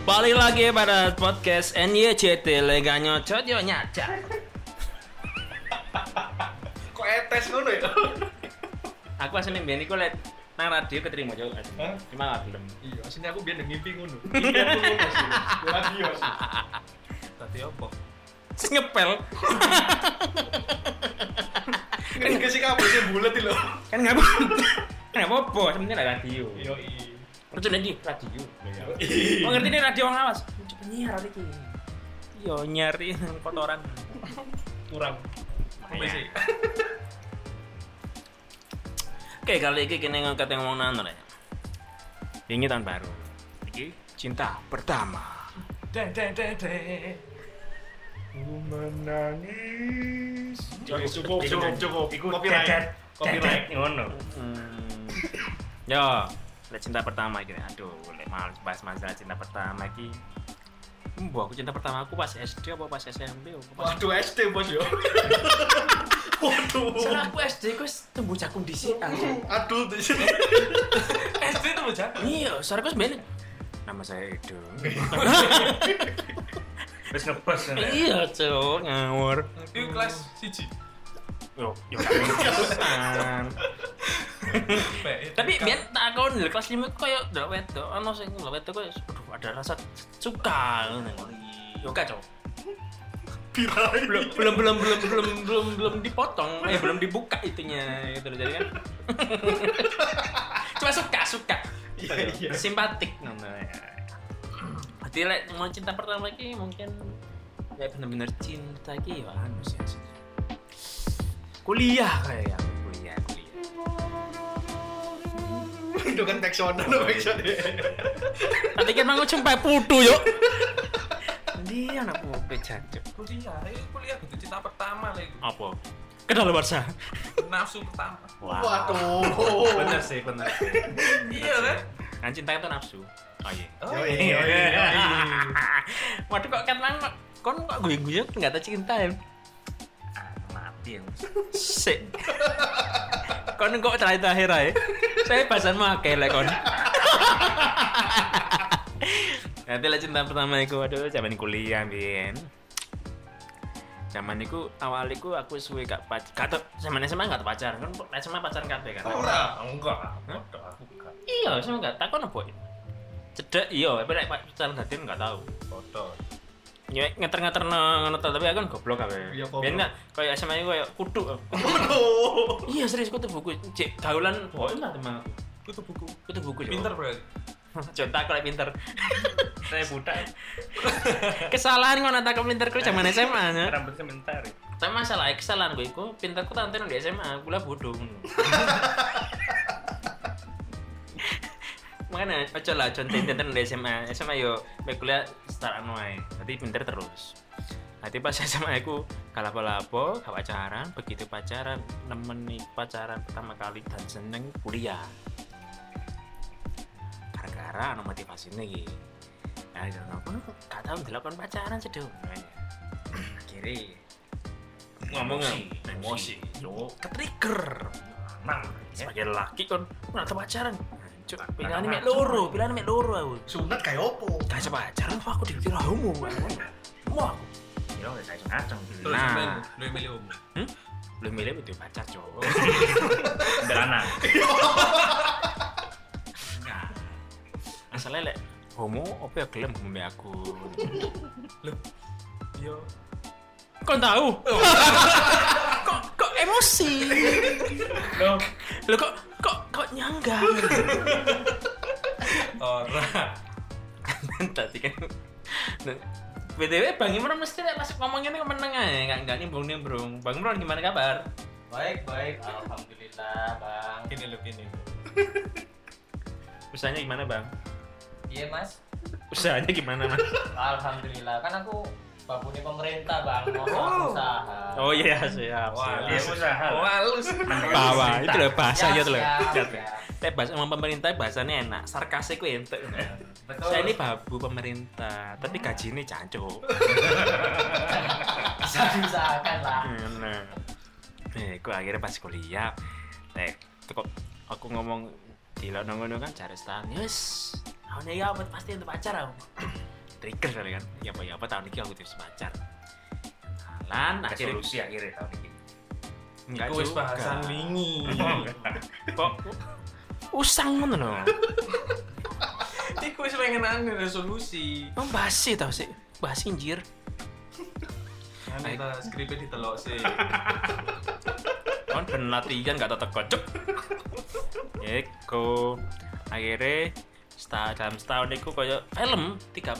Kembali lagi pada podcast NYCT Leganya Codio Nyaca Kok etes ngono ya? Aku aslinya biar aku liat Nang radio keterima jauh aja Hah? Cuma gak belum Iya, aslinya aku biar ngimpi ngono. Iya, aku ngono sih. Radio sih. Tadi apa? Sing ngepel Kan gak sih kabel sih bulat lho. Kan gak apa-apa Kan Gak apa-apa Sebenernya gak radio Iya. Yo i. Lucu nanti radio Yo Mau ngerti nih radio ngawas Coba nyiar iki Yo nyari kotoran kurang. Apa sih? Oke kali ini kini ngangkat yang ngomong nanti ya Ini tahun baru Ini cinta pertama Deng deng deng deng. Ku menangis. Cukup, Cukup, cukup, cukup. Ikut, Copyright. cecet, Copyright. cecet, ngono. Hmm. Yo, lek cinta pertama iki. Aduh, lek mal bahas masalah cinta pertama iki. Mbok aku cinta pertama aku pas SD apa pas SMP apa pas Waduh SD bos yo. Waduh. aku SD ku tumbuh jagung di sini. Aduh, di sini. SD itu bocah. Iya, soalnya aku sebenarnya nama saya Edo. Wis ngebos ngono. iya, cok, ngawur. Ini kelas siji. Yo, yo. kan. Tapi biar tak kon lho kelas 5 koyo ndelok wedok, ono sing ndelok wedok koyo aduh ada rasa suka ngono. Iya. Yo gak, Cok. pirai. belum belum belum belum belum belum belum dipotong eh belum dibuka itunya gitu loh jadi kan cuma suka suka gitu Iya, loh. iya. simpatik namanya jadi like, mau cinta pertama lagi mungkin ya bener-bener cinta lagi ya anu sih aslinya. kuliah kayak ya, kuliah kuliah Itu kan teksona, no teksona. tapi kan mau cempai putu yuk dia anak putu jancuk Kuliah, ini kuliah gitu cinta pertama lagi. apa kedaluarsa Nafsu pertama. Waduh. Bener sih, bener. Iya kan? kan cinta itu nafsu oh iya Yoi, iya. yoi, yoi. Waduh kok kenang kon kok gue gue nggak tahu cinta ya? Mati ya. Sik. kon kok terakhir terakhir ya? Saya pasan mau akeh lah kon. Nanti lah cinta pertama aku, aduh zaman kuliah bien. Zaman itu awal itu aku suwe gak pacar, gak tau zaman SMA gak tau pacar, kan SMA pacaran kabeh kan. Ora, enggak. Bodoh aku enggak. Iya, SMA gak takon apa. Cedek iya, tapi lek pacaran datin gak tau. Bodoh. Ya ngeter-ngeter ngono to, tapi aku kan goblok ae. Iya, goblok. Biyen kan koyo SMA iku koyo kudu. Waduh. Iya serius kutu buku cek gaulan pokoke lah temen aku. Kutu buku, kutu buku yo. Pinter berarti. Contoh aku lek pinter. Saya budak. Kesalahan ngono tak pinter ku zaman SMA. ya. Rambutnya bentar. ya. Tapi masalah kesalahan gue iku pinterku tante nang di SMA, aku lah bodoh ngono. Makanya aja lah contoh pinter nang di SMA. SMA yo mek kuliah start anu ae. Dadi pinter terus. Nanti pas SMA aku kalah lapo gak pacaran, begitu pacaran nemeni pacaran pertama kali dan seneng kuliah. Gara-gara anu motivasinya iki. Nah, jangan apa gak tau dilakukan pacaran seduh. Akhirnya ngomong Emosi. Yo, ketrigger nang. sebagai laki kan nggak tau pacaran Cuk, pilihan Nggak mek tau loro pilihan mek loro aku Sunat kayak opo? gak bisa pacaran wah, aku dikira homo mau aku Yo, ya, saya gitu. ngacang. Nah. Terus lu milih umum. belum milih butuh pacar cowok sederhana. masalahnya lek homo apa ya gelem homo mek aku Yo. kok tahu kok kok emosi Loh. lo kok kok kok nyangga Ora. tadi kan BTW Bang Imron mesti lek masuk ngomongnya ini meneng ae, enggak enggak nimbrung-nimbrung. Bang Imron gimana kabar? Baik, baik. Alhamdulillah, Bang. Gini lo gini. Usahanya gimana, Bang? Iya, Mas. Usahanya gimana, Mas? Alhamdulillah. Kan aku bakunya pemerintah, Bang. Mau usaha. Oh iya, siap. Wah, siap. dia usaha. Wah, lu seneng. Bawa, itu loh bahasa Siap, gitu loh. siap, Lihat, siap. Tapi bahasa sama pemerintah bahasanya enak, sarkasnya ku entek. Betul. Saya ini babu pemerintah, tapi gaji ini cancuk. bisa diusahakan lah. Nah, eh, aku akhirnya pas kuliah, eh, itu kok aku ngomong di ngono kan cari setahun, yes, tahunnya ya apa pasti untuk pacar aku. trigger kali kan ya apa ya apa tahun ini aku terus pacar kenalan akhirnya Resolusi ya. akhirnya tahun ini. enggak Iku wis juga. bahasan wingi. kok usang ngono loh Iku wis pengen anu resolusi. Emang basi tau sih basi anjir Anu Aik. ta skripe ditelok sih. kan ben latihan gak tetep kocok Eko akhirnya seta- dalam setahun itu kayak film tiga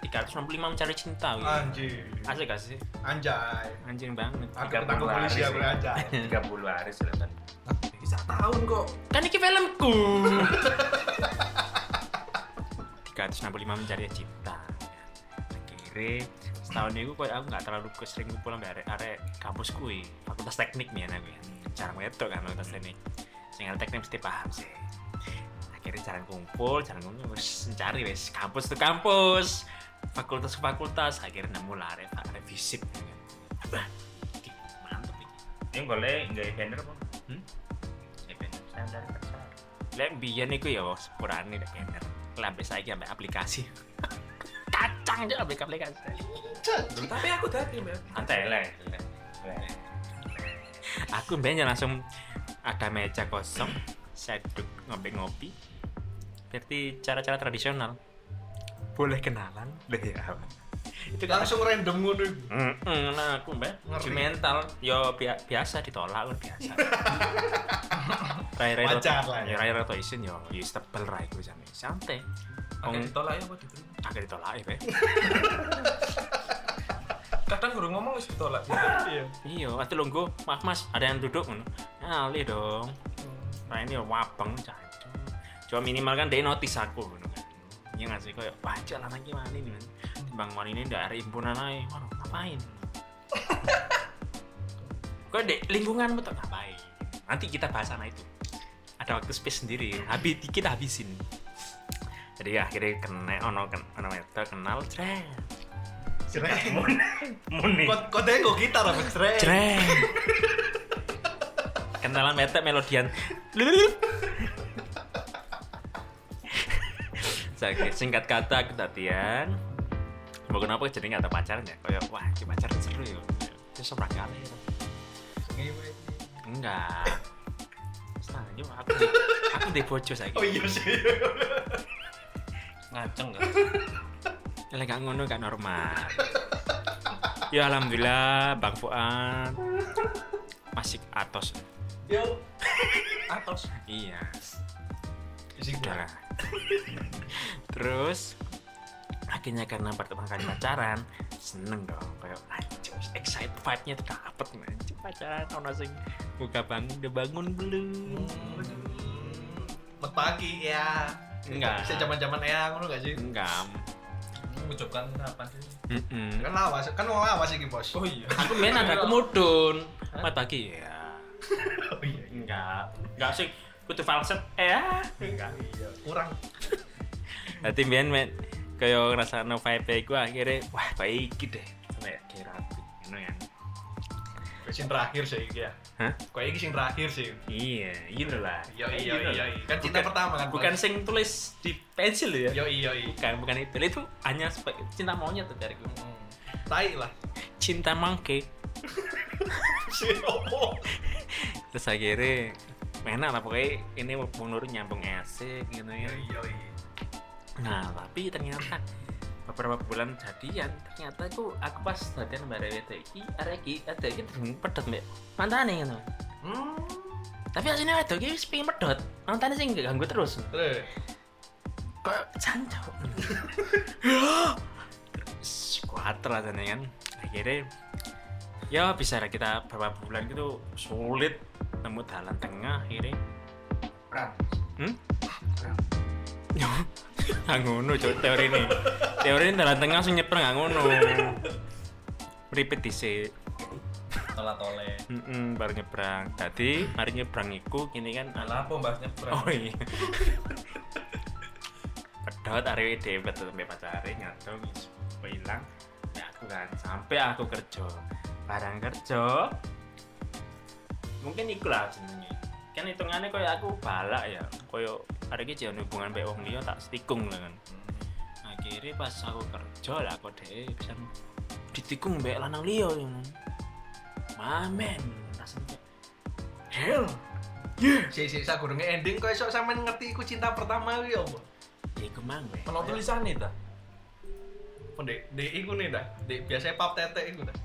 365 mencari cinta gitu. Anjir. Asik gak sih? Anjay. Anjing banget. Aku Tiga ketangkep puluh polisi hari aku sih. anjay. 30 hari sudah kan. Iki sak tahun kok. Kan ini filmku. 365 mencari cinta. Akhirnya setahun itu kayak aku nggak terlalu sering ngumpul sampai arek arek kampus kui. Fakultas teknik nih aku ya. Jarang wedok kan fakultas teknik. Sehingga teknik mesti paham sih. Akhirnya jarang kumpul, jarang kumpul, wes mencari wes kampus tuh kampus, fakultas ke fakultas. Akhirnya nemu lah arek arek visip. ya kan. Abah, iki mantep iki. Ini boleh nggak banner pun? Hmm? Ya banner standar kan saya. Lek biyen iku ya sepurane lek bener. Lambe saiki ambek aplikasi. Kacang aja ambek aplikasi. Tapi aku dadi, Mbak. Antai lah. Aku mbenya langsung ada meja kosong, saya duduk ngombe ngopi. Berarti cara-cara tradisional. Boleh kenalan, deh ya. Itu kan Langsung random ngono iku. Mm-mm, nah aku mbak Ngerti. uji mental yo bi- biasa ditolak kan biasa rai rai Wajar lah ya. ya rai rai isin yo yo tebel rai gue jane santai Oke, Wong- ditolak ya apa diterima? agak ditolak ya Be. Kadang guru ngomong wis ditolak sih. Iya. Iya, waktu lunggu, maaf mas, ada yang duduk ngono. Ali dong. Nah ini wabeng jancuk. Cuma minimal kan dia notice aku ngono kan. Iya nggak sih kayak baca lah lagi mana ini man. Bang Wan ini dari himpunan aja. Waduh, ngapain? Kok dek lingkungan betul ngapain? Nanti kita bahas anak itu. Ada waktu space sendiri. Habis dikit habisin. Jadi akhirnya kena ono ken- ono meter kenal cret. Jreng. Muni. Kok kok tengok kita ra jreng. Jreng. Kenalan metek melodian. Sakit singkat kata aku tadian. Mau kenapa jadi nggak ada pacaran ya? Kayak wah, ini pacaran seru ya. Terus seberapa kali ya? Enggak. Setahunnya aku aku di bojo saiki. Oh iya sih. ngaceng gak? Lek gak ngono gak normal. ya alhamdulillah Bang Fuad masih atos. Yo. Atos. Iya, Sing udah lah. Terus akhirnya karena pertama kali pacaran seneng dong kayak anjir excited vibe-nya tuh dapet anjir pacaran ono sing buka bangun udah bangun belum Metaki ya. Enggak. Bisa zaman-zaman ya ngono gak sih? enggak Mengucapkan harapan dulu. Mm-mm. Kan lawas, kan wong lawas iki, Bos. Oh iya. aku main ada kemudun mat pagi ya Oh iya. enggak enggak sih kutu falset eh ah. enggak Iya. Kurang Nanti biar men kayak ngerasa no vibe gue akhirnya wah kayak iki deh kayak kayak rapi gitu kan sing terakhir sih iki ya. Hah? Kok iki sing terakhir sih. iya gitu lah Yo iya iya. Kan cinta Bukan- pertama kan. bukan sing tulis di pensil ya Yo iya iya. bukan bukan itu itu hanya sebagai cinta maunya tuh dari gue Hmm. Tai lah. cinta mangke Si opo? terus akhirnya enak lah pokoknya ini menurut nyambung asik gitu Yo ya iya iya. Nah, tapi ternyata beberapa bulan jadian, ternyata aku aku pas jadian sama Rewe iki, arek iki, ada iki dereng pedot mbek. Mantane gitu. ngono. Hmm. Tapi aslinya ada iki wis pengen pedot. Mantane sing ganggu terus. Terus. Kayak jancuk. Terus kuater rasanya kan. Akhirnya ya bisa lah kita beberapa bulan gitu sulit nemu jalan tengah akhirnya Perang. Hmm? Nggak ngono cok teori ini. Teori ini dalam tengah langsung nyebrang nggak ngono. Repeat dhisik. Tolak tole. Mm-mm, baru nyebrang. Tadi mari nyebrang iku gini kan ala Alah Nah, apa bahasnya Oh iya. Pedot arewe dhewe pedot sampe pacare nyadong wis ilang. Ya aku kan sampai aku kerja. Barang kerja. Mungkin iku lah jenenge. Kan hitungannya koyo aku balak ya. Koyo arek iki jan hubungan mbek wong liya tak stikung lah kan. Oke, akhirnya pas aku kerja lah aku deh bisa ditikung mbak lanang liya ngono. mamen rasanya kayak hell Si si sakurnge ending kok esok sampean ngerti iku cinta pertama kuwi apa? ya iku mang weh. Ono tulisane ta? Pendek dek iku nih dah. Dek biasanya pap tetek iku dah.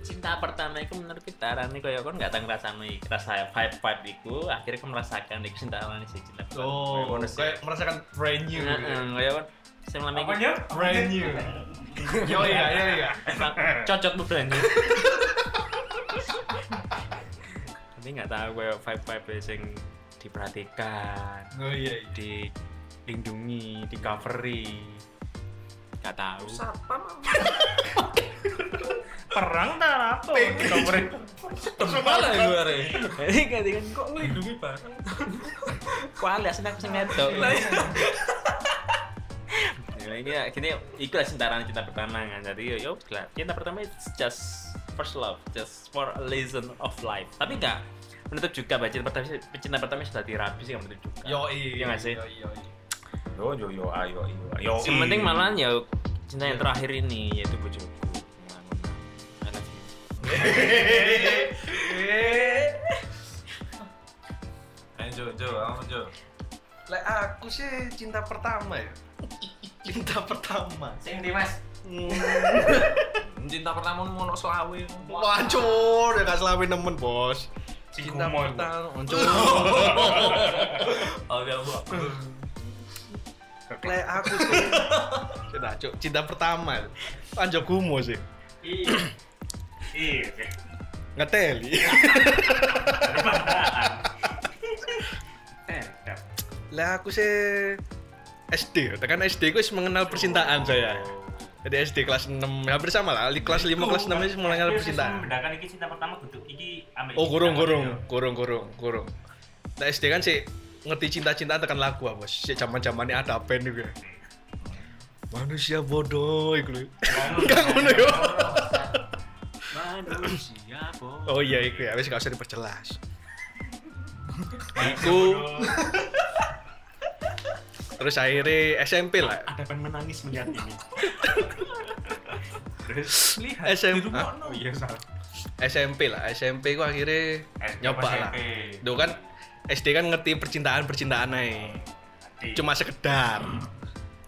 cinta pertama itu menurut kita Rani kayak kan nggak tahu rasanya rasa vibe vibe itu akhirnya aku merasakan itu cinta awalnya sih cinta pertama Oh, Kayak ngono sih. kayak merasakan brand new. Heeh, gitu. kayak kan saya lama Apanya? Brand new. Yo iya, yo iya. cocok tuh Rani tapi nggak tahu kayak vibe vibe yang diperhatikan Oh iya. iya. dilindungi di covery nggak tahu Satpam Perang tak apa? Terpalah gue are. jadi nggak dengan kok Lindungi barang. kualitas aku sing wedok Ya, ini akhirnya itu lah cintaan cinta pertama kan jadi yo yo lah cinta pertama is just first love just for a lesson of life tapi enggak menutup juga bahwa cinta pertama cinta pertama sudah terapi sih nggak menutup juga Yo iya. Iya nggak sih? Yo iya. iya. Yo yo yo ayo ayo. Yo. yang penting malah ya cinta yang terakhir ini yaitu bojoku I love you. Ayo Jo, Jo, kamu Jo. Lek aku sih cinta pertama ya. Cinta pertama. Sing di mas. Cinta pertama mau ono selawe. Wacur, ya gak selawi nemen, Bos. Cinta Cikumoy. pertama, muncul. Oh, ya Bu. Lek aku sih. Cinta, Cuk. cinta pertama. Panjo Kumo sih. Iya. Ngeteli. Eh, ya. Lah aku sih SD, ya. tekan SD ku wis mengenal percintaan saya. Jadi SD kelas 6, hampir sama lah, di kelas 5, kelas 6 itu mulai mengenal percintaan. Bedakan iki cinta pertama duduk iki ambil. Oh, kurung, kurung, kurung, kurung, kurung. Nah, SD kan sih ngerti cinta-cintaan tekan lagu apa, bos. Si zaman zamannya ada band juga. Manusia bodoh, iku lho. Enggak ngono yo. manusia bodoh Oh iya, iku ya, wis gak usah diperjelas. Gitu. Iku, terus akhirnya SMP lah. ada pengen menangis melihat ini Lihat. SMP. dirungokno. Oh iya salah. SMP lah, SMP gua akhirnya nyoba lah. Duh kan SD kan ngerti percintaan-percintaan aja. Cuma sekedar.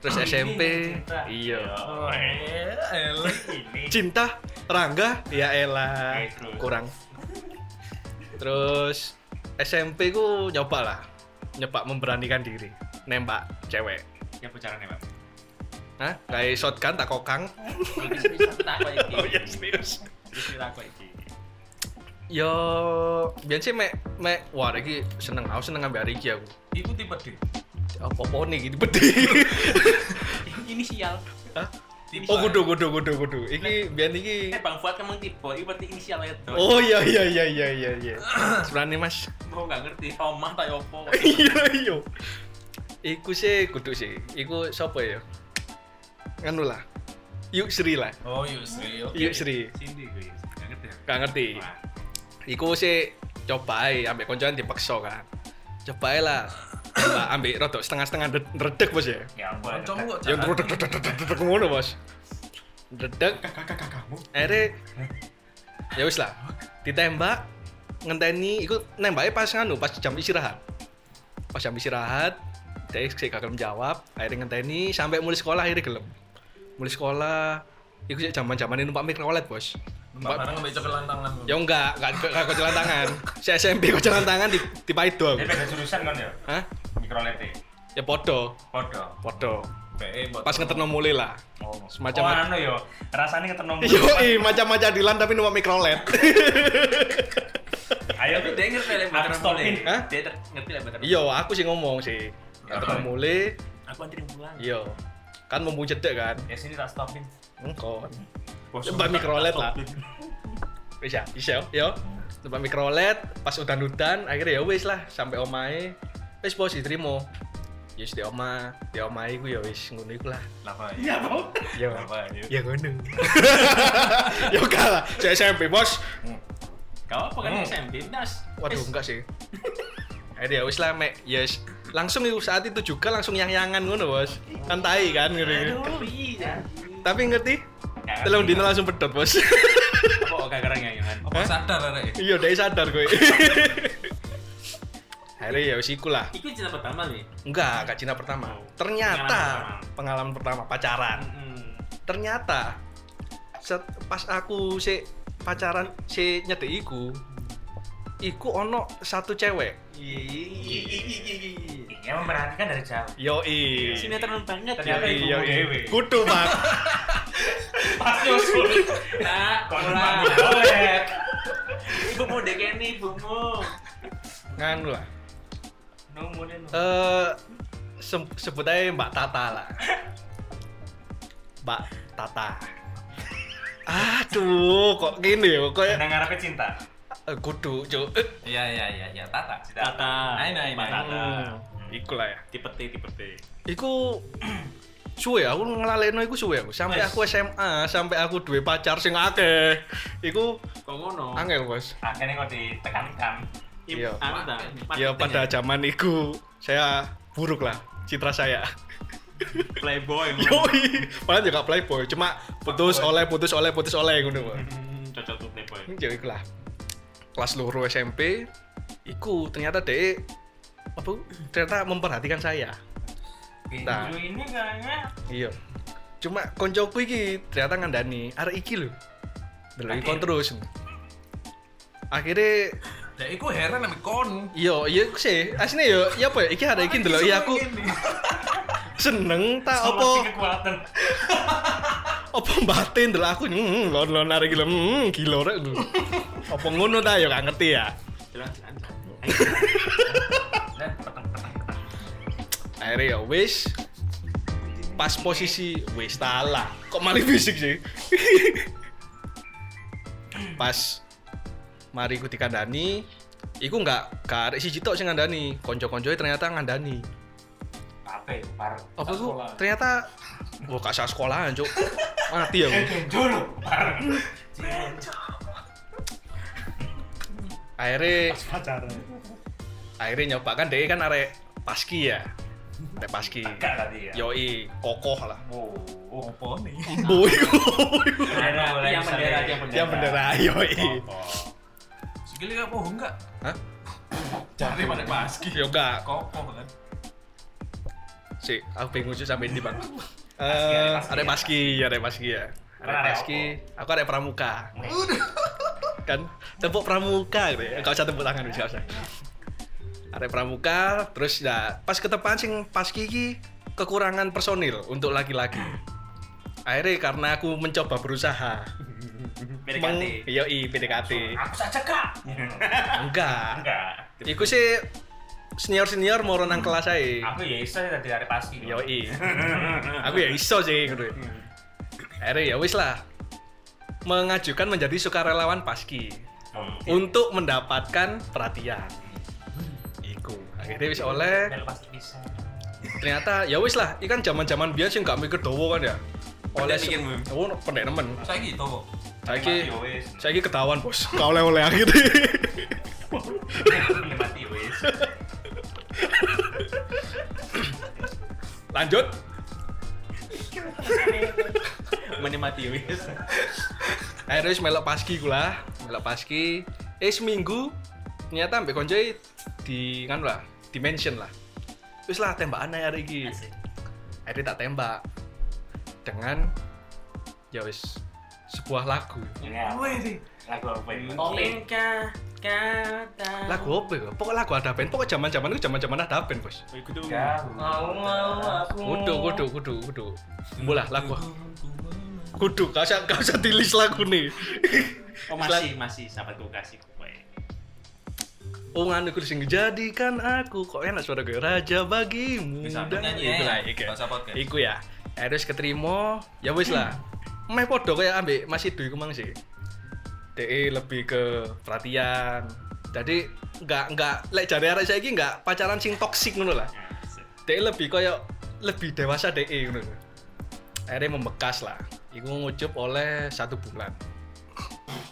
Terus SMP, iya. eh, Ini Cinta Rangga, ya elah, Eh, terus. kurang. Terus SMP ku nyoba lah. Nyoba memberanikan diri, nembak cewek. ya bocorannya, Pak. Hah? Kayak shotgun tak kokang. Iki bisa tak kok iki. Oh iya serius. Terus kita kok iki. Yo, biar sih mek mek wah iki seneng aku seneng ambil hari iki aku. Iku tipe D. Apa pone gitu pedih. ini sial Hah? Tipe. Oh kudu kudu kudu kudu. Iki biar iki eh bang Fuad kamu tipe ini berarti inisial ya, wedok Oh iya iya iya iya iya iya. Sebenarnya Mas. Gue nggak ngerti, omah tak ya opo. Iya iya. Iku sih kudu sih. Iku sapa ya? Anu lah. Yuk Sri lah. Oh, yuk Sri. oke. Yuk Sri. Cindy gue. Nggak ngerti ya? Gak ngerti. Wah. Iku sih coba ae ambek koncoan dipaksa kan. Coba ae lah. Coba ambek rodok setengah-setengah ded- redek bos ya. Ya ampun. Kancamu kok Ya jalan. redek redek redek redek ngono bos. Redek kakak-kakakmu. akhirnya ya wis lah ditembak ngenteni iku nembaknya pas nganu pas jam istirahat pas jam istirahat dia sik gak gelem jawab akhirnya ngenteni sampai mulai sekolah akhirnya gelem mulai sekolah iku sik zaman zaman numpak mikrolet bos Mbak bareng ambek cekel tangan. ya enggak enggak enggak kocelan tangan si SMP kocelan tangan di di Paido aku Dia beda jurusan kan ya? Hah? Mikrolete. ya podo Podo. eh, podo PE buat. pas ngeterno mulai lah Oh, Semacam- iya. oh, anu yo. Rasanya ketemu. yoi macam-macam dilan tapi numpak mikrolet Ayo Tapi dia ngerti lah Aku stopin. Hah? Dia ter- ngerti lah bener. iya aku sih ngomong sih ngeterno mulai Aku anterin pulang. Iya. Kan mumpung cedek kan. Ya sini tak stopin. Engkon. Coba mikrolet lah. Bisa, bisa yo. Coba mikrolet, pas udan-udan akhirnya ya wis lah sampai omahe. Wis bos diterima. Ya wis di oma, di omahe ku ya wis ngono iku lah. Lapa. Iya, Bang. Yo. Lapa. yuk. Ya ngono. Yo kalah. Saya SMP, Bos. Kau apa kan Hmm. SMP? Nas. Waduh, enggak sih. Akhirnya ya wis lah mek, ya wis langsung itu saat itu juga langsung yang-yangan ngono bos kan tai kan ngeri tapi ngerti Ya, telung dino langsung pedot bos Kok gak keren ya Yohan? Apa sadar arek? iya dari sadar kowe akhirnya ya wis iku lah Iku cinta pertama nih. enggak kak Cina pertama ternyata pengalaman pertama pacaran ternyata set- pas aku si pacaran si nyedek iku iku ono satu cewek Iya memperhatikan dari jauh. yoi Sinetron banget. Ternyata ya. ibu iya, iya. dewe. kudu pak Pas nyusul. Nah, ulah. Konfirman golek. Ibumu dekeni ibumu. nganu lah Nunggu deh, nunggu. eh se- sebut aja Mbak Tata lah. Mbak Tata. Aduh, kok gini ya? Kok Nang ngarepe cinta. eh, kudu, Cuk. Eh, Iya iya iya iya tata. Nah, Tata. Nah. Ayo, ayo, Mbak ayo. Tata. Hmm. Iku lah ya. Tipete, tipete. Iku suwe ya, aku ngelalekno iku suwe aku. Sampai aku SMA, sampai aku duwe pacar sing akeh. Iku Kok ngono? angel, Bos. Akhirnya kok ditekan-tekan. Ibu Iya. anu ta. Ya pada zaman iku saya buruk lah citra saya. playboy. ngono. Yoi, padahal juga playboy, cuma putus oleh putus oleh putus oleh ngono. Bos. Hmm, Cocok tuh playboy. ya iku lah kelas luruh SMP iku ternyata de apa ternyata memperhatikan saya Nah. Dulu ini kayaknya iya cuma koncoku iki ternyata ngandani arek iki lho delok ikon terus akhirnya Dek iku heran ame kon. iya iya iku sih aslinya yo iya apa ya iki ada iki delok iya aku seneng tak solusi apa kekuatan. apa batin delok aku hmm lon lon arek iki lho hmm gila rek lho apa ngono ta ya gak ngerti ya Jelas-jelas. Dan peteng-peteng. akhirnya ya wis pas posisi wis talah kok maling fisik sih pas mari ku dikandani iku nggak karek siji tok sing ngandani konco-koncoe ternyata ngandani Apa ya? Par. apa ku Sekolah. ternyata wah gak sah sekolahan cuk mati ya, aku Dulu. Eh, Par. akhirnya Pacaran. akhirnya nyoba kan deh kan arek paski ya arek paski Enggak tadi ya. yoi kokoh lah Oh. Oh. Opo nih? boy Akhirnya mulai Tiang bisa Iya, bendera, deh. tiang yang bendera. Iya, bendera yoi Kokoh. Sikile gak bohong enggak? Hah? Cari pada paski. yo gak Kokoh kan. Si, aku pengen ngucu sampai ini bang. Arek Eh, arek Paski, paski, ya arek paski ya. Arek Arek paski, aku arek pramuka. Weh. Kan tepuk pramuka gitu ya. Enggak usah tepuk tangan, enggak usah. Arek pramuka, terus ya pas ketepaan sing paski iki kekurangan personil untuk laki-laki. Akhirnya karena aku mencoba berusaha PDKT. Yoi, PDKT Aku saja kak. Enggak Enggak. Iku sih senior-senior moro nang kelas aja Aku ya iso dari hari pasti. Yoi. Aku ya iso sih gitu. Akhirnya ya wis lah. Mengajukan menjadi sukarelawan Paski Hmm. untuk mendapatkan perhatian. Iku. Akhirnya wis oleh Biar pasti bisa. ternyata ya wis lah. Ikan zaman-zaman biasa nggak mikir dowo kan ya. Oleh Pendek mikirmu. Oh, pendek nemen. Saiki gitu. to kok. Saiki Mati ya wis. saiki ketahuan, Bos. Kau oleh-oleh akhirnya. Mati wis. Lanjut. Menikmati wis. Akhirnya wis melok Paski gula, melok Paski. Eh seminggu ternyata ambek koncoe di kan lah, dimension lah. Wis lah tembakan ae hari iki. Akhirnya tak tembak dengan ya wis sebuah lagu. Ini Iya. apa? sih. Lagu apa ini? Lengkah kata. Lagu apa ya? Pokok lagu ada band, pokok zaman-zaman itu zaman-zaman ada band, Bos. Oh, iku tuh. Jauh. Mau mau aku. Kudu, kudu, kudu, kudu. Mulah lagu. Kudu, gak usah, gak usah tilis lagu nih. Oh, masih masih sahabatku kasih kowe. Oh nganu kudu sing jadikan aku kok enak suara gue raja bagimu. Bisa dan- nyanyi Iku lah, ya. iku. Bahasa podcast. Iku ya. Harus keterima, ya wis lah. Meh podo kayak ambek Mas Idu iku mang sih. DE lebih ke perhatian. Jadi nggak nggak lek jare arek saiki nggak pacaran sing toksik ngono lah. DE lebih koyo lebih dewasa DE ngono. Akhirnya membekas lah. Iku ngucup oleh satu bulan.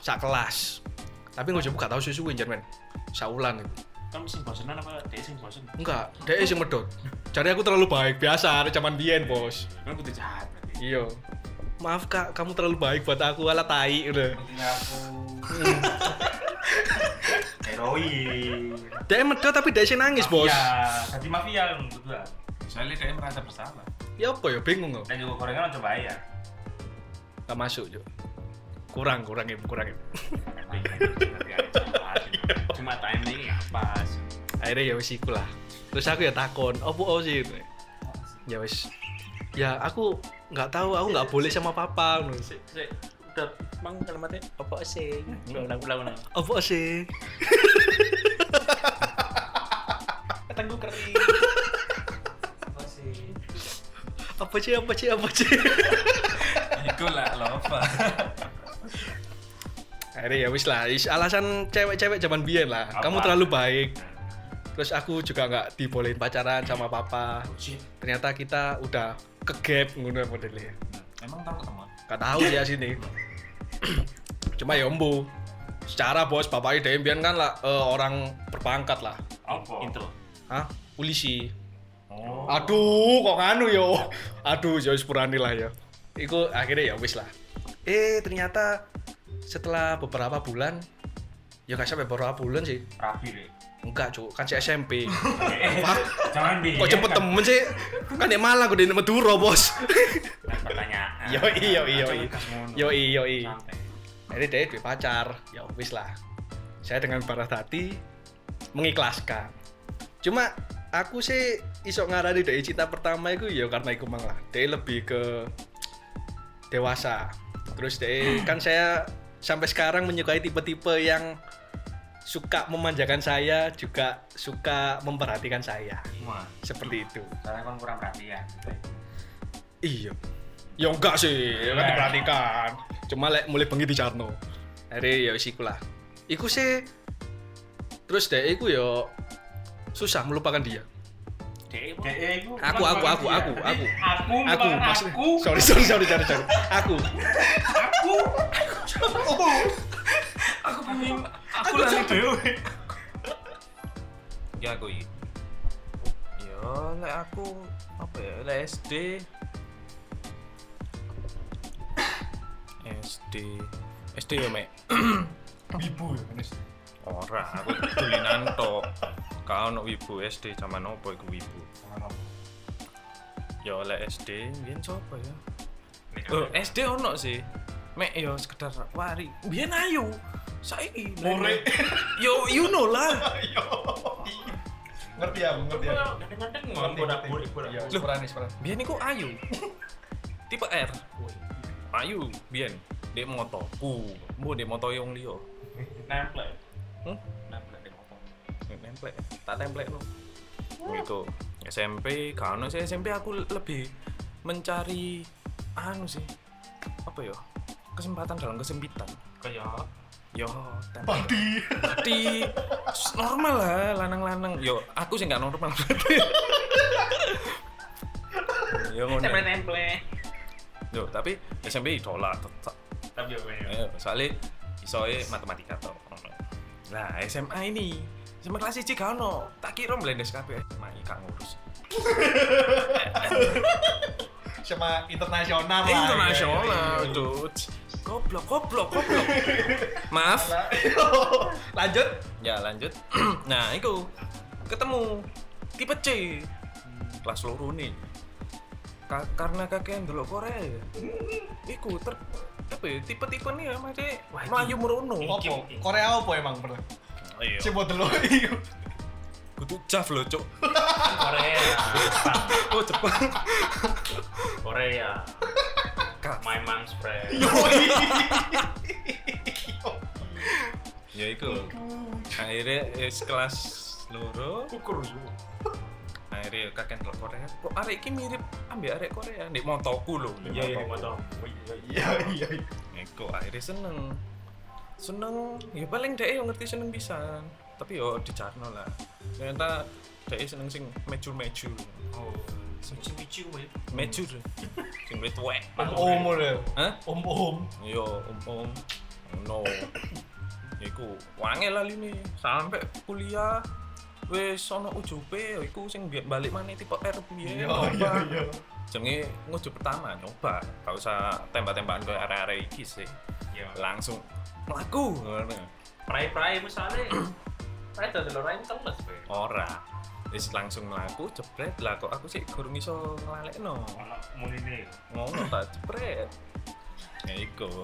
Sak kelas. Tapi ngucup gak tau susu men. Saulan itu. kamu Kan sing bosenan apa dia sing bosen Enggak, E dia sih medot. Cari aku terlalu baik, biasa ada zaman biyen, Bos. kamu butuh Kan jahat berarti Iya. Maaf Kak, kamu terlalu baik buat aku, ala tai udah. Mungkin aku heroin. Dia medot E tapi dia sih nangis, Bos. Mafia. Jadi mafia lu berdua. soalnya dia merasa bersalah Ya apa ya bingung kok. Dan juga gorengan coba ya. Gak masuk, Cuk. Kurang, kurang Im, kurang Im. cuma timing nggak pas Akhirnya ya wis iku lah. Terus aku ya takon, opo oh sih? Ya wis. Ya aku nggak tahu, aku nggak boleh sama papa. ngono. udah mang kalimatnya apa sih ulang ulang ulang Apa "Oh, sih? ketengku kering Apa sih? Apa sih? Apa sih? Apa sih? iku lah lova Akhirnya ya wis lah, is alasan cewek-cewek zaman biyen lah. Kamu Apa? terlalu baik. Terus aku juga nggak dibolehin pacaran sama papa. Ternyata kita udah ke gap ngono modelnya. Emang tahu ketemu? Gak tahu ya sini. Cuma ya embu. Secara bos bapak ide biyen kan lah eh, orang berpangkat lah. Apa? intro Hah? Polisi. Oh. Aduh, kok nganu yo. Aduh, Joyce Purani lah ya. Iku akhirnya ya wis lah. Eh, ternyata setelah beberapa bulan ya gak sampai beberapa bulan sih. Rapi deh. Enggak, Cuk. Kan si SMP. Eh, Pak, Jangan bi. kok cepet temen sih? Kan di Malang, gue di Madura, Bos. Pertanyaan. Yoi, yoi, yoi. Jangan gas ngono. Yoi, yoi. Santai. Jadi dia duwe pacar. Ya wis lah. Saya dengan paras hati mengikhlaskan. Cuma aku sih iso ngarani dari cinta pertama itu ya karena iku mang lah. Dia lebih ke dewasa. Terus dia kan saya sampai sekarang menyukai tipe-tipe yang suka memanjakan saya juga suka memperhatikan saya Wah, seperti itu Soalnya kan kurang perhatian. Iya. Ya enggak sih, ya kan diperhatikan. Cuma lek mulai bengi di Carno. Hari ya wis iku lah. Iku sih terus deh iku yo susah melupakan dia. dia Dek, eh, iku Aku, kurang aku, aku, aku, aku. perhatian. Jadi, Aku, Aku merupakan maksudnya aku, sorry sorry sorry sorry, sorry. Aku aku, aku, aku pengen, aku lari dewe. ya aku iya. iki. ya lek aku apa ya lek SD SD SD ya mek Ibu ya, Nes. ora aku dulinan tok kau ono wibu SD zaman opo iku wibu ya lek SD biyen sapa ya oh, SD ono sih mek ya sekedar wari biyen ayu saiki Murik. yo you know lah ngerti aku, ngerti aku. Iya, Loh. peranis, peranis. Bian iku ayu. Tipe R. Ayu, Bian. Dek moto. Ku, mbo dek moto yang liya. Nempel. Hmm? Nempel di motor. Templek, tak templek lo. Gitu. SMP, gak ono sih SMP aku lebih mencari anu sih. Apa ya? Kesempatan dalam kesempitan. Kayak Yo, pati. Pati. Normal lah, lanang-lanang. Yo, aku sih nggak normal. Yo ngono. nempel. Yo, tapi SMP ditolak tetap. Tapi apa ya? Eh, soalnya isoe matematika toh. Nah, SMA ini SMA kelas 1 gak ono. Tak kira blendes kabeh. SMA iki gak ngurus. Sama internasional. iya, lah, Internasional, iya, iya. dude. Goblok, goblok, goblok. Maaf. iya. Lanjut. Ya, lanjut. nah, itu ketemu tipe C. Kelas loro nih. Ka- karena kakek dulu Korea. Iku ter apa ya, tipe-tipe nih ya, maksudnya Melayu merono. Opo? Korea opo emang pernah? Oh, Iya. Si model lo iyo. Kudu jaf loh, Cuk. Korea, Oh, Jepang. Korea, Kak. my mom's friend. Ya iku. Akhirnya wis kelas loro, Kukur yo. akhirnya kakek ndelok Korea. Kok arek iki mirip ambek arek Korea nek motoku lho. Iya iya Motoku. motor. Iya, iya. Iku akhirnya seneng. Seneng, ya paling dhek yo ngerti seneng pisan. Tapi yo dicarno lah. Ternyata dhek e seneng sing mejur-mejur. Oh. Micu-micu, weh. Mejur. Sing wit tuwek. Om model. Hah? Om om. Yo, om-om. Ya No. Iku wangi lah ini sampai kuliah wis ono ujupe ya iku sing biar balik mana tipe R Iya, piye. iya, iya. Jenenge ngujuk pertama nyoba, gak usah tembak-tembakan koyo arek-arek iki sih. Iya. Langsung mlaku ngono. Prai-prai misalnya. Prai dari lo rain teles be. Ora. Wis langsung mlaku jebret lah kok aku sih kurang iso nglalekno. Anak muline. ngono tak jepret Hmm. ya iku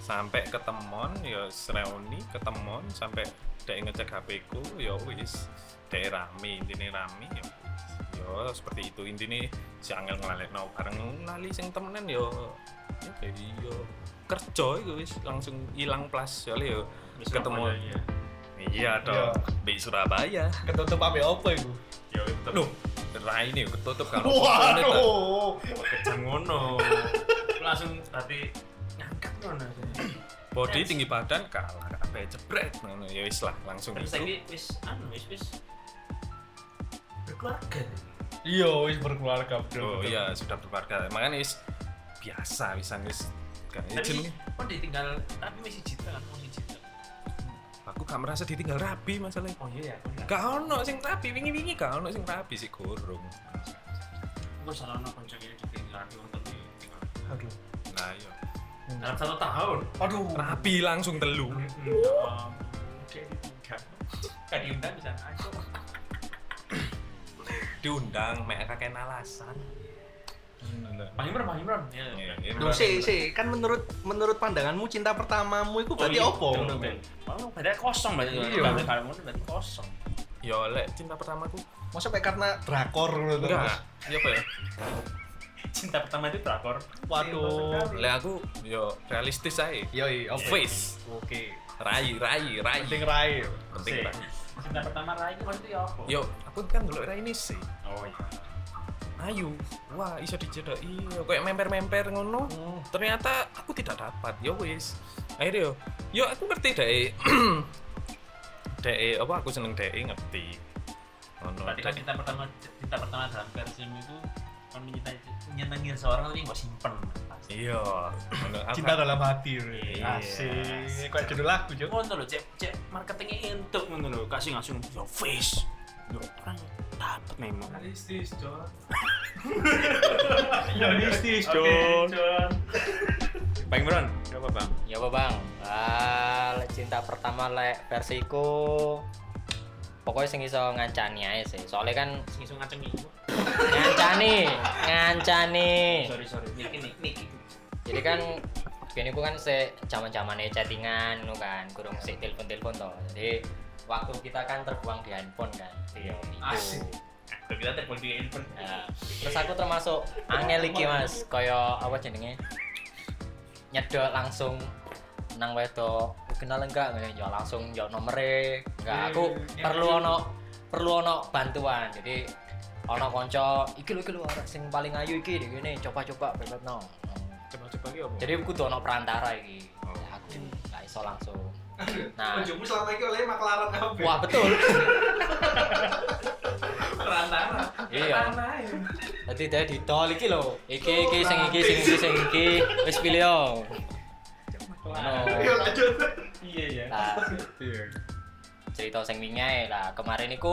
sampai ketemon ya sereuni ketemon sampai dek ngecek HP ku ya wis dek rame intine rame ya wis. ya seperti itu intine si angel ngelalekno bareng lali sing temenan ya ya kayak iya kerja itu wis langsung hilang plus soalnya ya ketemu ya. iya Iya. dong di Surabaya Ketutup apa apa itu? Ya itu. Loh, rai ini ketutup kalau Waduh. Kejang ngono. Langsung tadi ngangkat ngono. body tinggi badan kalah kabeh jebret ngono ya wis lah langsung Terus itu lagi wis anu wis wis. Berkeluarga. Iya, wis berkeluarga bro. oh iya sudah berkeluarga makanya wis biasa wis wis gak Tapi izin kan ditinggal tapi masih cinta kan masih cinta. aku gak merasa ditinggal rabi masalahnya Oh iya ya. aku nggak- gak ono sing rabi wingi-wingi gak ono sing rabi sih gorong Aku salah ono kanca ini ditinggal di wonten di tinggal. Aduh. nah iya Dalam satu tahun. Aduh. rabi langsung telu Oke, ditinggal. Gak diundang bisa aja. diundang mek kakek Iya, alasan Bang Imran, Bang Imran. Ya, Ya, ya. ya, Loh, si, si, kan menurut menurut pandanganmu cinta pertamamu itu Oh, iya. berarti opo? Betul, betul. Bang, berarti Oh, kosong berarti. Iya. Berarti kalau ngono berarti kosong. ya lek cinta pertamaku Masa sampai karena drakor ngono to, Mas? enggak iya apa ya Cinta pertama itu drakor. Iya, Waduh. lek aku yo realistis aja Yoi, opo? face Oke. rai rai rai Penting rai. penting Sih. rai Cinta pertama Rai itu maksudnya ya apa? yo aku kan dulu rai ini sih Oh iya. ayo wah iso dijedaki kayak memper-memper ngono Hmm. ternyata aku tidak dapat yo wis akhirnya yo yo aku ngerti deh deh apa aku seneng deh ngerti ngono Berarti kan cinta pertama cinta pertama dalam versimu itu kan mencintai menyenangi seorang tapi nggak simpen. Pasti. iya ngono aku Cinta kan? dalam hati. Iya. Asik. Kayak judul lagu, Cuk. Ngono lho, cek cek marketingnya entuk ngono lho, kasih langsung yo face. Yo orang dapat memang. Realistis, John. Realistis, John. iya. John. bang Imran apa bang Iya. Ya apa bang? Ah, lek cinta pertama lek versiku pokoknya sing iso ngancani aja sih. Soalnya kan Sing iso ngaceng ngancani, ngancani. Sorry sorry, niki niki niki. Jadi kan biyen iku kan se zaman-zamane chattingan ngono kan, kurang sik telepon-telepon to. Jadi waktu kita kan terbuang di handphone kan. Iya. Asik. Kalau kita telepon di handphone. Ya. Terus aku termasuk angel iki mas, kaya apa jenenge? Nyedot langsung nang wedok kenal enggak Ngono, ya langsung ya nomere Iya, enggak aku Eh, perlu ono perlu ono bantuan jadi ono konco iki lho iki lho orang sing paling ayu iki ngene coba-coba bebet no coba-coba lagi apa Oh. jadi kudu ono perantara iki Ya, aku gak iso langsung nah Ujungmu selama ini oleh maklaran kabeh. wah betul Perantara. ya. iya Dadi dia ditol iki lho. Iki iki sing iki sing Oh, iki sing iki wis pilih yo. Ngono. lanjut. Iya ya. Lah, cerita sing wingi ae. lah kemarin iku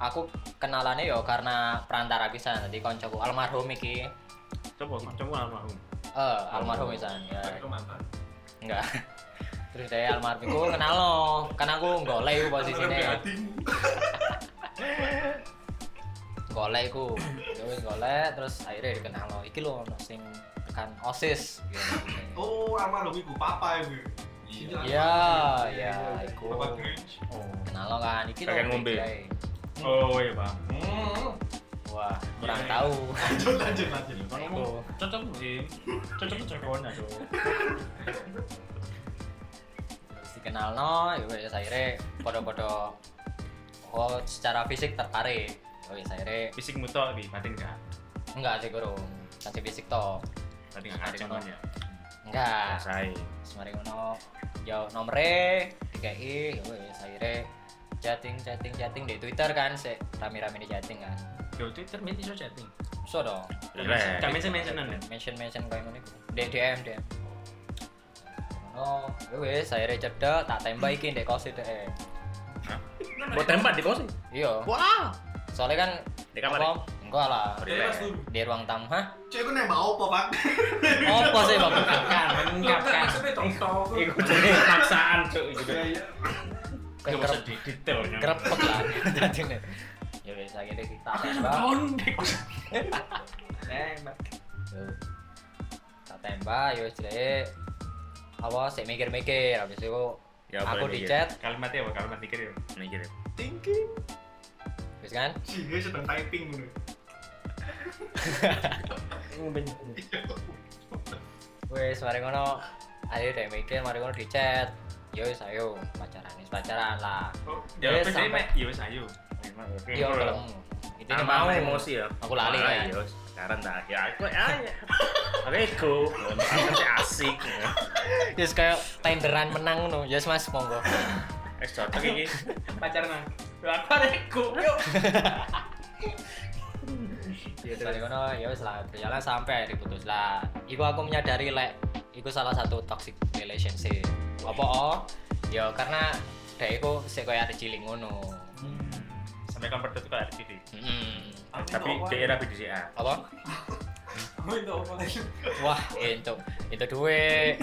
aku kenalane yo karena perantara pisan dadi koncoku almarhum iki. Coba coba almarhum. Eh, Oh. almarhum pisan ya. mantan Enggak. Terus dia almarhum iku kenal lo. Karena aku golek iku posisine. ya. golek iku. Ya wis golek terus akhirnya dikenal lo. Iki lho ono sing tekan OSIS. Gitu. Oh, amal iku papa iku. Iya. Iya, iya, iku. Papa Grinch. Kenal lo kan, iki Kakek lho, ngombe. Kiai. Oh iya bang. Hmm. Wah, kurang Iya. tahu. Lanjut, lanjut, lanjut. Iku. Cocok sih. Cocok cocok aja. Terus dikenal no, ya wis akhirnya podo-podo oh secara fisik tertarik. Ya wis akhirnya Fisik mutok di batin gak? enggak sih kurung. Tapi fisik toh. Batin gak ngaceng kan ya. Enggak. Selesai. Semari ngono ya nomere DKI ya wis akhirnya chatting chatting chatting di Twitter kan sik rame-rame di chatting kan. Yo Twitter minti so chatting. So dong. Iya. Relax. Kami sih mentionan ya. mention mention kayak ngono iku. Dek DM DM. Ngono, ya wis akhirnya cedak tak tembak iki ndek kos e. Buat tempat di kos. Iya. Wah. Soalnya kan Di kamar. apa? Enggak lah. Bebas tuh. Di ruang tamu, hah? Cek aku nembak opo, Pak? Apa sih, Bang? mengungkapkan Iku jadi paksaan cuk iku. Cuk. Kayak usah kerep di detail ya. kerepek lah. Jadi nih. Ya wis akhirnya kita tembak. Yo. Kita tembak yo istilahnya apa sih mikir-mikir habis itu Ya, aku boleh di mikir. chat, kalimatnya apa kalimat pikir ya Mikir. Thinking. wis kan? Sih, dia sedang typing ngono. Wes mari ngono. Ayo deh mikir, mari ngono di chat. Yo wis ayo pacaran, wis pacaran lah. jawabnya Wes, sih sampai- mek ya wes ayo Yo belum. Itu Ini Iya. mau mau emosi ya. Aku lali Malah, kan. ya. wes. Sekarang dah ya aku ya. ya. Oke, go. Aku sih asik. ya. Yes kayak tenderan menang ngono. Yes Mas, monggo. Eh, cocok iki. pacaran Dari kono ya wis lah berjalan sampai akhirnya putus lah. Iku aku menyadari lek iku salah satu toxic relationship. Apa oh? Ya karena dhek iku sik koyo ada cilik ngono. sampai kamu itu kalau ada TV Mm-mm. Tapi daerah BDCA. Apa? Wah, itu itu duwe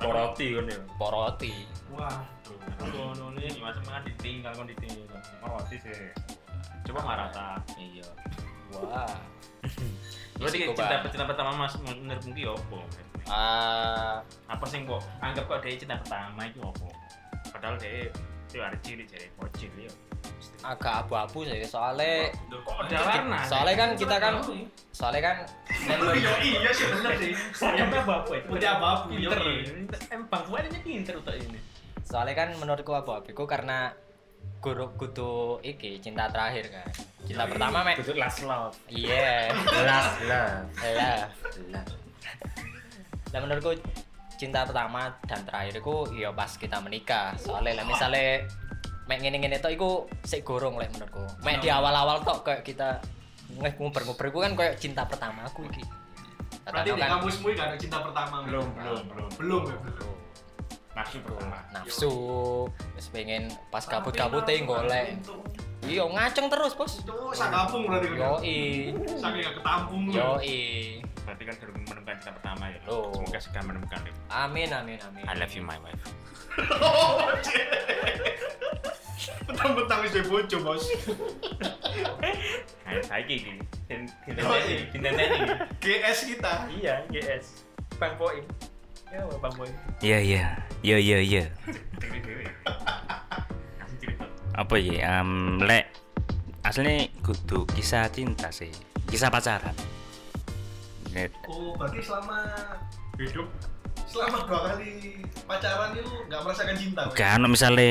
Poroti kan ya. poroti. Aduh, aduh, ini gimana sama kan ditinggal kan ditinggal ngerti sih coba nggak rata Iya. Wah. berarti Isiko, cinta Bang. cinta pertama mas menurut mungkin ya apa Ah, apa sih kok anggap kok dia cinta pertama itu apa padahal dia itu ada ciri jadi bocil ya agak abu-abu sih soalnya Duh, kok ada warna soalnya kan kita kan soalnya kan Yo iya sih bener sih. Sayangnya bapak itu. Udah apa? pinter Pinter. emang gue adanya pinter untuk ini soalnya kan menurutku apa abiku karena guru kudu iki cinta terakhir kan cinta pertama mek Itu Iya, last love. iya Last love. lah Last. lah menurutku cinta pertama dan terakhirku ya pas kita menikah soalnya lah misalnya mek ngene-ngene tok iku sik gorong lek menurutku mek di Iya. awal-awal tok kayak kita nguber-nguber ku kan kayak cinta pertama aku iki Berarti Tatakan- di kamu semua ya, gak ada cinta pertama. Belum, belum, belum. Belum, ya, belum. Nafsu pertama. nafsu terus pengen pas Ah, kabut-kabut golek iya ngaceng terus bos Itu sak kampung berarti kan. yoi Saking gak ketampung. yoi berarti kan belum menemukan cinta pertama ya Oh. semoga segera menemukan ya. amin amin amin I love you my wife Petang-petang wis duwe bojo, Bos. Eh, Kayak saiki iki. Tin- tin- Oh, tin- iya. tin- tin- tin- tin. GS kita. Iya, GS. Bang Boy. Ya, Bang Boy. Iya iya iya iya iya. Apa ya? Um, lek aslinya kudu kisah cinta sih, kisah pacaran. Nek- Oh, berarti selama hidup selama dua kali pacaran itu nggak merasakan cinta. Bos? Gak ono misale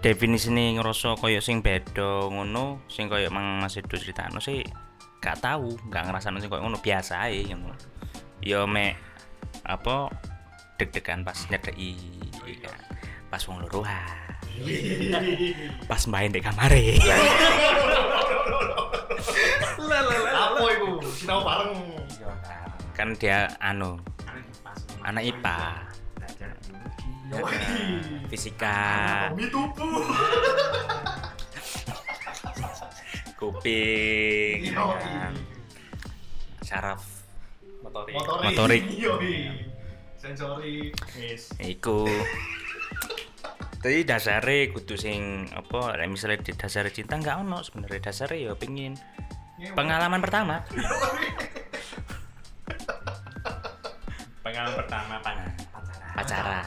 definisi nih ngerasa koyo sing beda ngono, sing koyo Mang Mas Edo critakno sih gak tahu, gak ngerasano sing koyo ngono biasa ae ngono. Ya mek apa deg-degan pas nyedeki iya kan. pas wong loro ah. pas main di kamar Apa itu? Kita bareng. kan dia anu anak IPA fisika Di tubuh. kuping ya Yoi. kan. saraf motorik Motorik. Motorik. Yoi. Sensori. Iku. Tapi dasare kudu sing apa lek misale di dasare cinta nggak ono sebenarnya dasare ya pengin pengalaman pertama. pengalaman pertama pan Nah, Pacaran.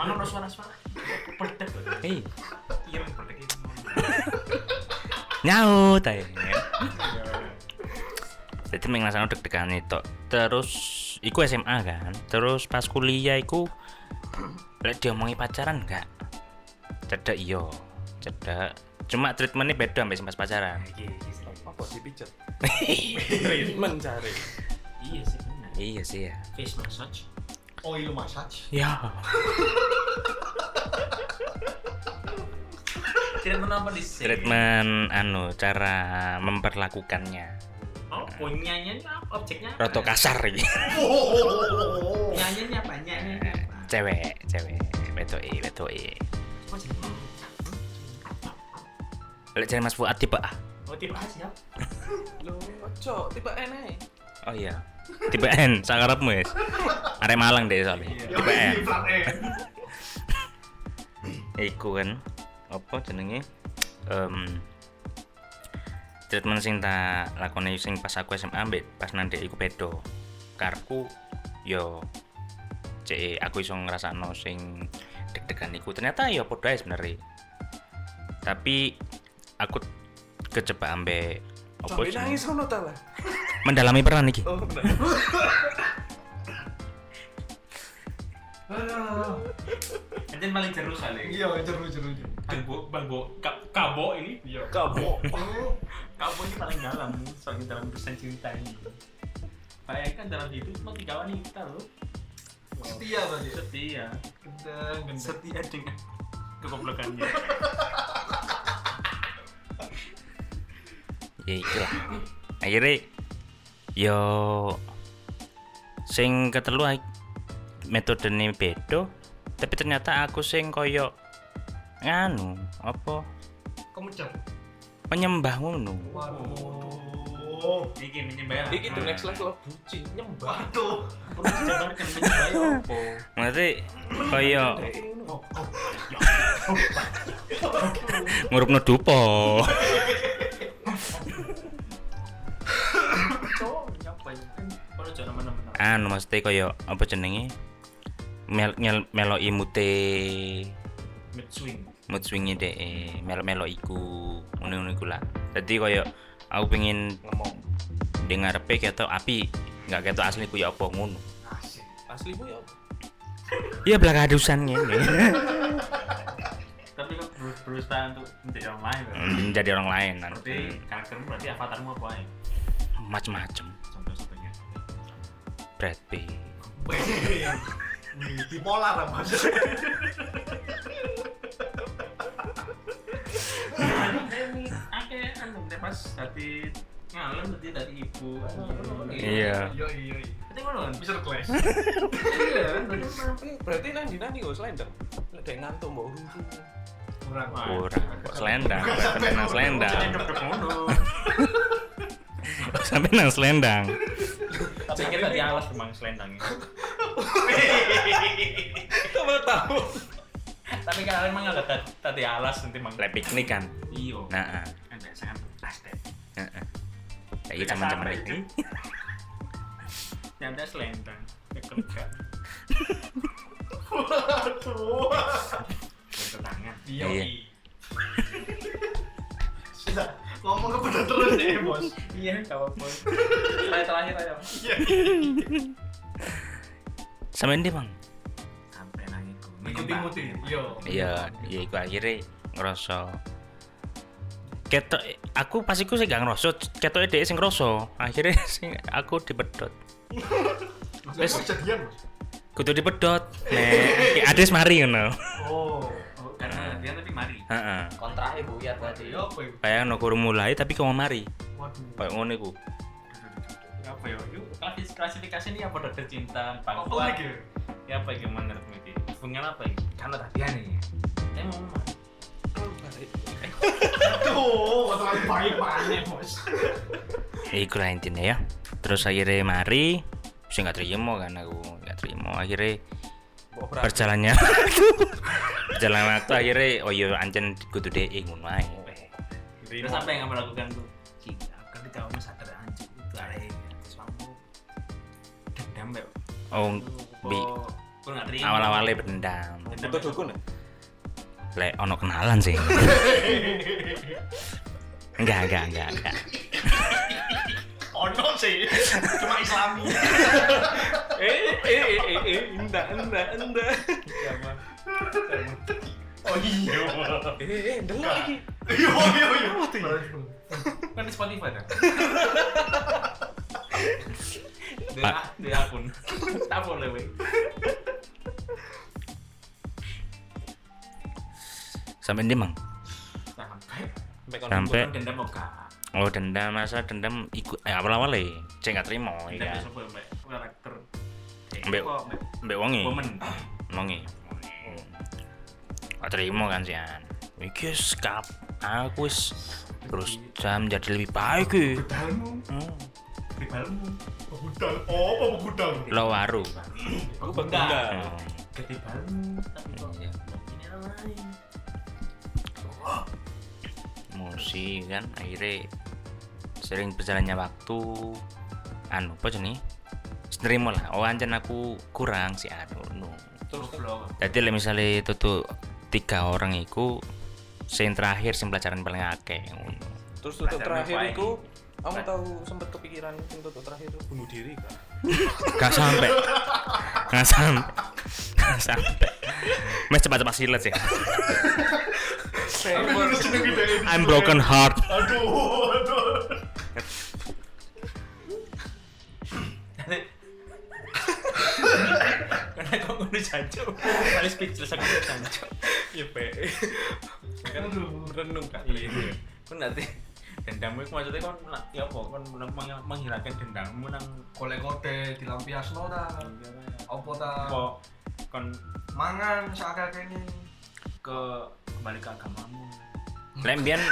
mana ada suara-suara berdek Hei, iya berdek nyaut ae. Iya. Jadi ming ngrasakno deg-degan itu. Terus iku SMA kan. Terus pas kuliah iku lek diomongi pacaran nggak? Cedek iya, cedek. Cuma treatmentnya beda sampai pas pacaran. Apa sih pijat? Treatment cari. iya sih benar Iya sih ya. face massage Oil massage. Ya. Tidak menapa di sini. treatment anu cara memperlakukannya Nah. Oh, punyanya ini apa? Objeknya apa? roto Iya. kasar gitu Punyanya ini apa? Nyanya ini apa? cewek cewek beto e beto e Apa sih? Lek cari Mas Fuad tipe A. Oh tipe A siap. Lu cok, tipe enak. Oh iya. Tipe N, sakarepmu wis. Arek Malang deh soalnya. Iya, Tipe N. Iku kan apa jenenge? Em treatment sing tak lakoni sing pas aku SMA ambek pas nanti iku beda. Karku yo cek aku iso ngrasakno sing deg-degan iku ternyata yo padha ae sebenarnya. Tapi aku kejebak ambek apa Sampai jenenge? nangis ono ta lah. mendalami peran iki. Oh, bener. Enten paling jeru kali. Iya, jeru jeru. jeru. Bang Bo, Bang Bo, Ka- Kabo ini. Iya. Kamu. Oh, Kamu ini paling dalam soalnya dalam pesan cinta ini. Bayangkan dalam hidup cuma tiga wanita loh. Setia berarti. ya? Setia, Gendeng, gendeng. setia dengan kegoblokannya. ya itulah akhirnya yo sing ketelu ai- metode ini beda tapi ternyata aku sing koyo nganu Anu, apa Kamu jam. penyembah ngono Waduh. Iki menyembah. ya? Iki the next level bucin nyembah. kan Waduh. Jabarkan menyembah ya opo. maksudnya koyo ngurupno dupo Cok, nyapa ya? Kalau jangan nama-nama. anu maksudnya koyo apa jenenge mel mel meloi mute Mid swing. mood swingnya deh melo melo iku ngono ngono iku lah jadi koyo aku pengen Ngomong. dengar pek atau api nggak ketok asli ku ya apa ngono Aslimu ya. ya belakadusan ngene Tapi kok ber- berusaha untuk menjadi orang lain. kan? menjadi orang lain kan. Berarti karaktermu berarti avatarmu apa ya? macem-macem Contoh-contohnya. Brad Pitt Wih, Bipolar lah mas. Oke, anu deh pas tadi ngalem berarti dari ibu. iya Iya iya. iya. Berarti ngono kan? Mister Clash. Iya kan? Berarti Berarti nanti nanti gak slender. Ada yang ngantuk mbok urus. Kurang. kurang kok selendang sampai nang selendang sampai nang selendang Tapi kita di alas memang selendang. Kamu tahu. Tapi kalian emang nggak tadi tadi alas nanti Iya. mang. lek piknik kan Iyo. nah Ada sangat plastik. heeh kayak gitu, cuman-cuman itu Yang ada selendang. Kekemukan. Waduh. Tangan. Iya. Iya. iya. Sudah ngomong kepada terus deh bos. Iya, nggak apa-apa. Saya terakhir aja. sampai ndi bang Sampai nangis. gue. Ngikutin ngikutin. Iya. iya iya iku akhirnya ngerasa ketok aku pas iku sih gak ngerasa ketoknya dia sing ngerasa akhirnya sing aku dipedot Wes jadian bos. kudu dipedot nek ades mari ngono Oh. Oh, Karena dia tapi mari. heeh kontrahe buyar berarti Iya apa itu? kayak no kurang mulai tapi kau mari Waduh. kayak ngono iku apa ya? Yuk, klasif- klasifikasi ini apa dokter cinta, Kok pangkuan, unik ya? ya apa yang menurutmu itu? Hubungan apa ya? Karena tadi nih. Emang Mas. Tuh, kata lagi baik mana bos? ya iku lah intinya ya terus akhirnya mari sih nggak terima kan aku nggak terima akhirnya Mbok ora. berjalannya berjalan waktu akhirnya oh iya ancen kudu deh ngono ae Terus apa yang kamu lakukan tuh? Cinta, kalau kamu kan sadar anjing itu ada yang terus kamu dendam ya. oh bi Kau nggak terima. awal-awalnya berdendam Dendam, Butuh ya? dukun. ya? lek ono kenalan sih enggak enggak enggak enggak Ono Oh, sih, cuma Islami. Eh eh eh eh eh enggak enggak enggak. Ya, Oh iya. Eh eh delok iki. Iya iya iya. Kan di Spotify kan? Dia, Pak. dia akun. Tak boleh weh. sampai ndi mang Sampai. Sampai. Bukan dendam oka. oh dendam masa dendam iku eh, awal-awalnya cek nggak terima Dendam ya itu apa mbak? Karakter. Eh, Mbak- Apa, Mbak? mbek wonge Woman. Mongi. Gak terima kan sih an. Iki skap aku wis terus jam jadi lebih baik iki. Budalmu, Hmm. ribalmu. Budal, apa budal? Lo waru. Aku budal. Hmm. Ketibalmu, tapi kok Iya. ini apa lain? Musi kan akhirnya sering berjalannya waktu anu apa jenis Nerima lah, oh ancen aku kurang sih anu no. Terus blok. Jadi le misalnya tutu tiga orang iku sing terakhir sing pelajaran paling akeh ngono. Terus tutup terakhir itu kamu tahu sempat kepikiran untuk terakhir itu bunuh diri kan? Gak sampe. Gak sampe. Gak sampe. Mas cepat-cepat silet sih. Tapi terus jeneng gitu ya, kita ini. I'm broken heart. Aduh, aduh. karena kau ngono jancuk paling speechless aku jancuk Iya, Pe. Kan renung kan. Iya. Kan nanti dendammu itu maksudnya kan lah, ya apa kan meng- menghilangkan dendammu nang Golek kode dilampias lo ta. Apa ta? apa kon Mangan sakakene. ke kembali ke agamamu. Lembian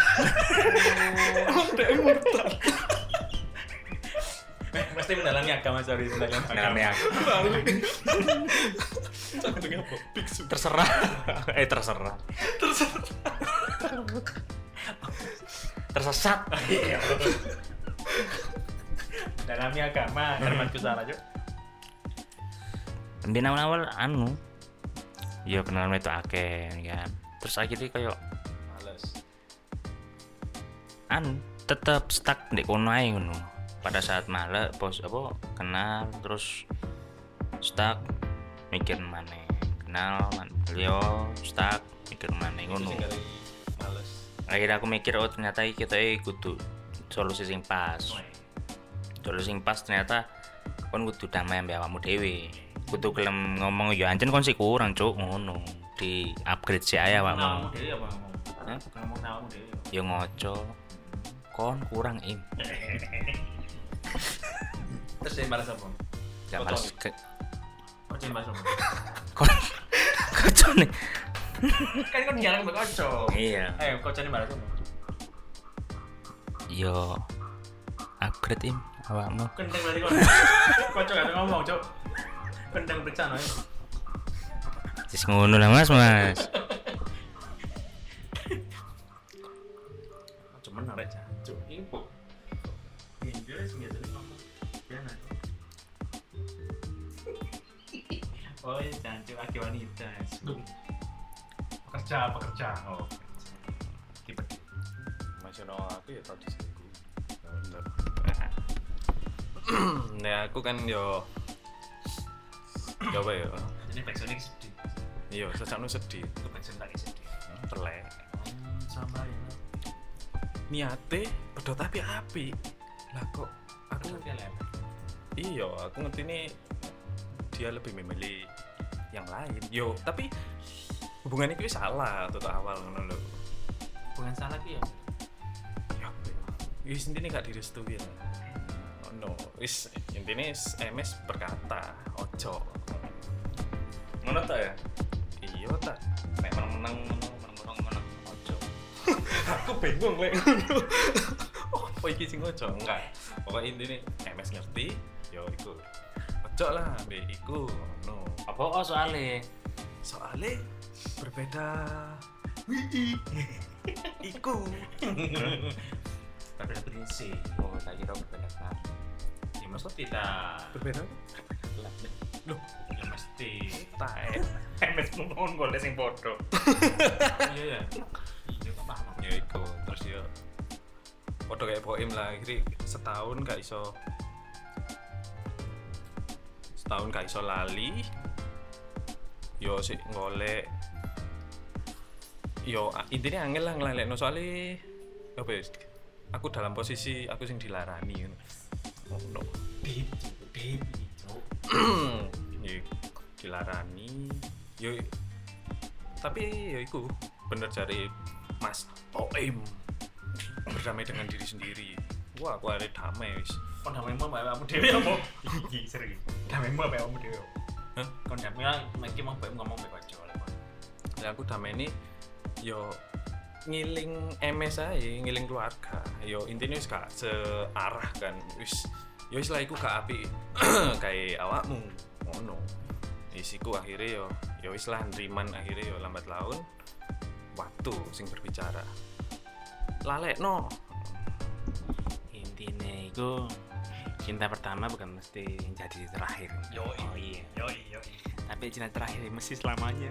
Eh, Pasti mendalami agama sorry mendalami agama. dalamnya aku. terserah. eh terserah. Terserah. Tersesat. Iya. Mendalami agama, Hmm. termasuk salah Cuk. Mbien awal-awal anu. Ya kenalan itu akeh kan. Terus akhirnya kayak Males. anu tetap stuck di kono ae ngono. Pada saat malah pos apa kenal terus stuck mikir mana kenal man, beliau stuck mikir mana ngono. Males. Akhirnya aku mikir oh ternyata iki kita kudu solusi sing pas. Solusi sing pas ternyata kon kudu damai ambek awakmu dhewe. Kudu gelem ngomong ya anjen kon sih kurang cuk ngono. Di upgrade sih ae kamu awakmu. dewi apa ngomong Hah? Kalau ngomong kamu dewi Ya ngoco. Kon kurang im. Terus dia balas apa? Gak males ke kau jangan bahas apa kon kocok nih. kan kau jarang berkocok Iya. eh kau jangan bahas apa Yo upgrade im awakmu. kendeng berarti kau kocok gak ada ngomong cok kendeng periksa no ya. Wis ngono lah Mas, Mas. Cuman arek jancuk. Ini kok Angel sih biasanya ngomong jangan oh iya jancuk aki wanita Pekerja, pekerja. Oh. Masih no aku ya tadi sih. Nah, Bener. ya aku kan yo coba yo jadi backsound ini sedih yo sejakno sedih itu backsound lagi sedih telek Hmm, sama ya niate pedot tapi api lah kok aku tapi lebar iya aku ngerti ini dia lebih memilih yang lain yo tapi hubungan itu salah tuh awal ngono lho bukan salah ki ya ya apa ya? wis intinya gak direstui lah Oh, no wis intinya s- MS berkata ojo Ngono ta ya? iya ta Mek meneng-meneng ngono, meneng-meneng ngono. Ojo. aku bingung lek ngono. Oh, Apa iki sing ojo enggak. Pokoke intine MS ngerti ya iku. Ojo lah ambek iku ngono. Apa oh soalnya? Soale berbeda wii iku. tapi dapat sih Oh, tak kira berbeda kan. ya maksud tidak Berbeda ya mesti tae. MS ngono golek sing padha. iya ya iya kok paham Ya iku terus ya Podo kayak Boim lah, kiri setahun gak iso setahun gak iso lali yo sik golek yo a- intinya angel lah ngelalekno soalnya apa ya aku dalam posisi aku sing dilarani ngono. oh, no. yo, dilarani yo tapi ya iku bener cari Mas Boim berdamai dengan diri sendiri wah aku ada damai wis kon damai mau mbak kamu dewi apa iya serius damai mau mbak kamu dewi Hah? kon damai lah mungkin mau mbak ngomong mbak kocok lah ya aku damai ini yo ngiling MS saya, ngiling keluarga. Yo intinya wis gak searah kan. Wis yo wis lah iku gak apik kayak awakmu ngono. Isiku akhirnya yo yo wis lah neriman akhirnya yo lambat laun waktu sing berbicara. Lalekno. Intinya itu cinta pertama bukan mesti jadi terakhir. Oh iya. Yo Tapi cinta terakhir mesti selamanya.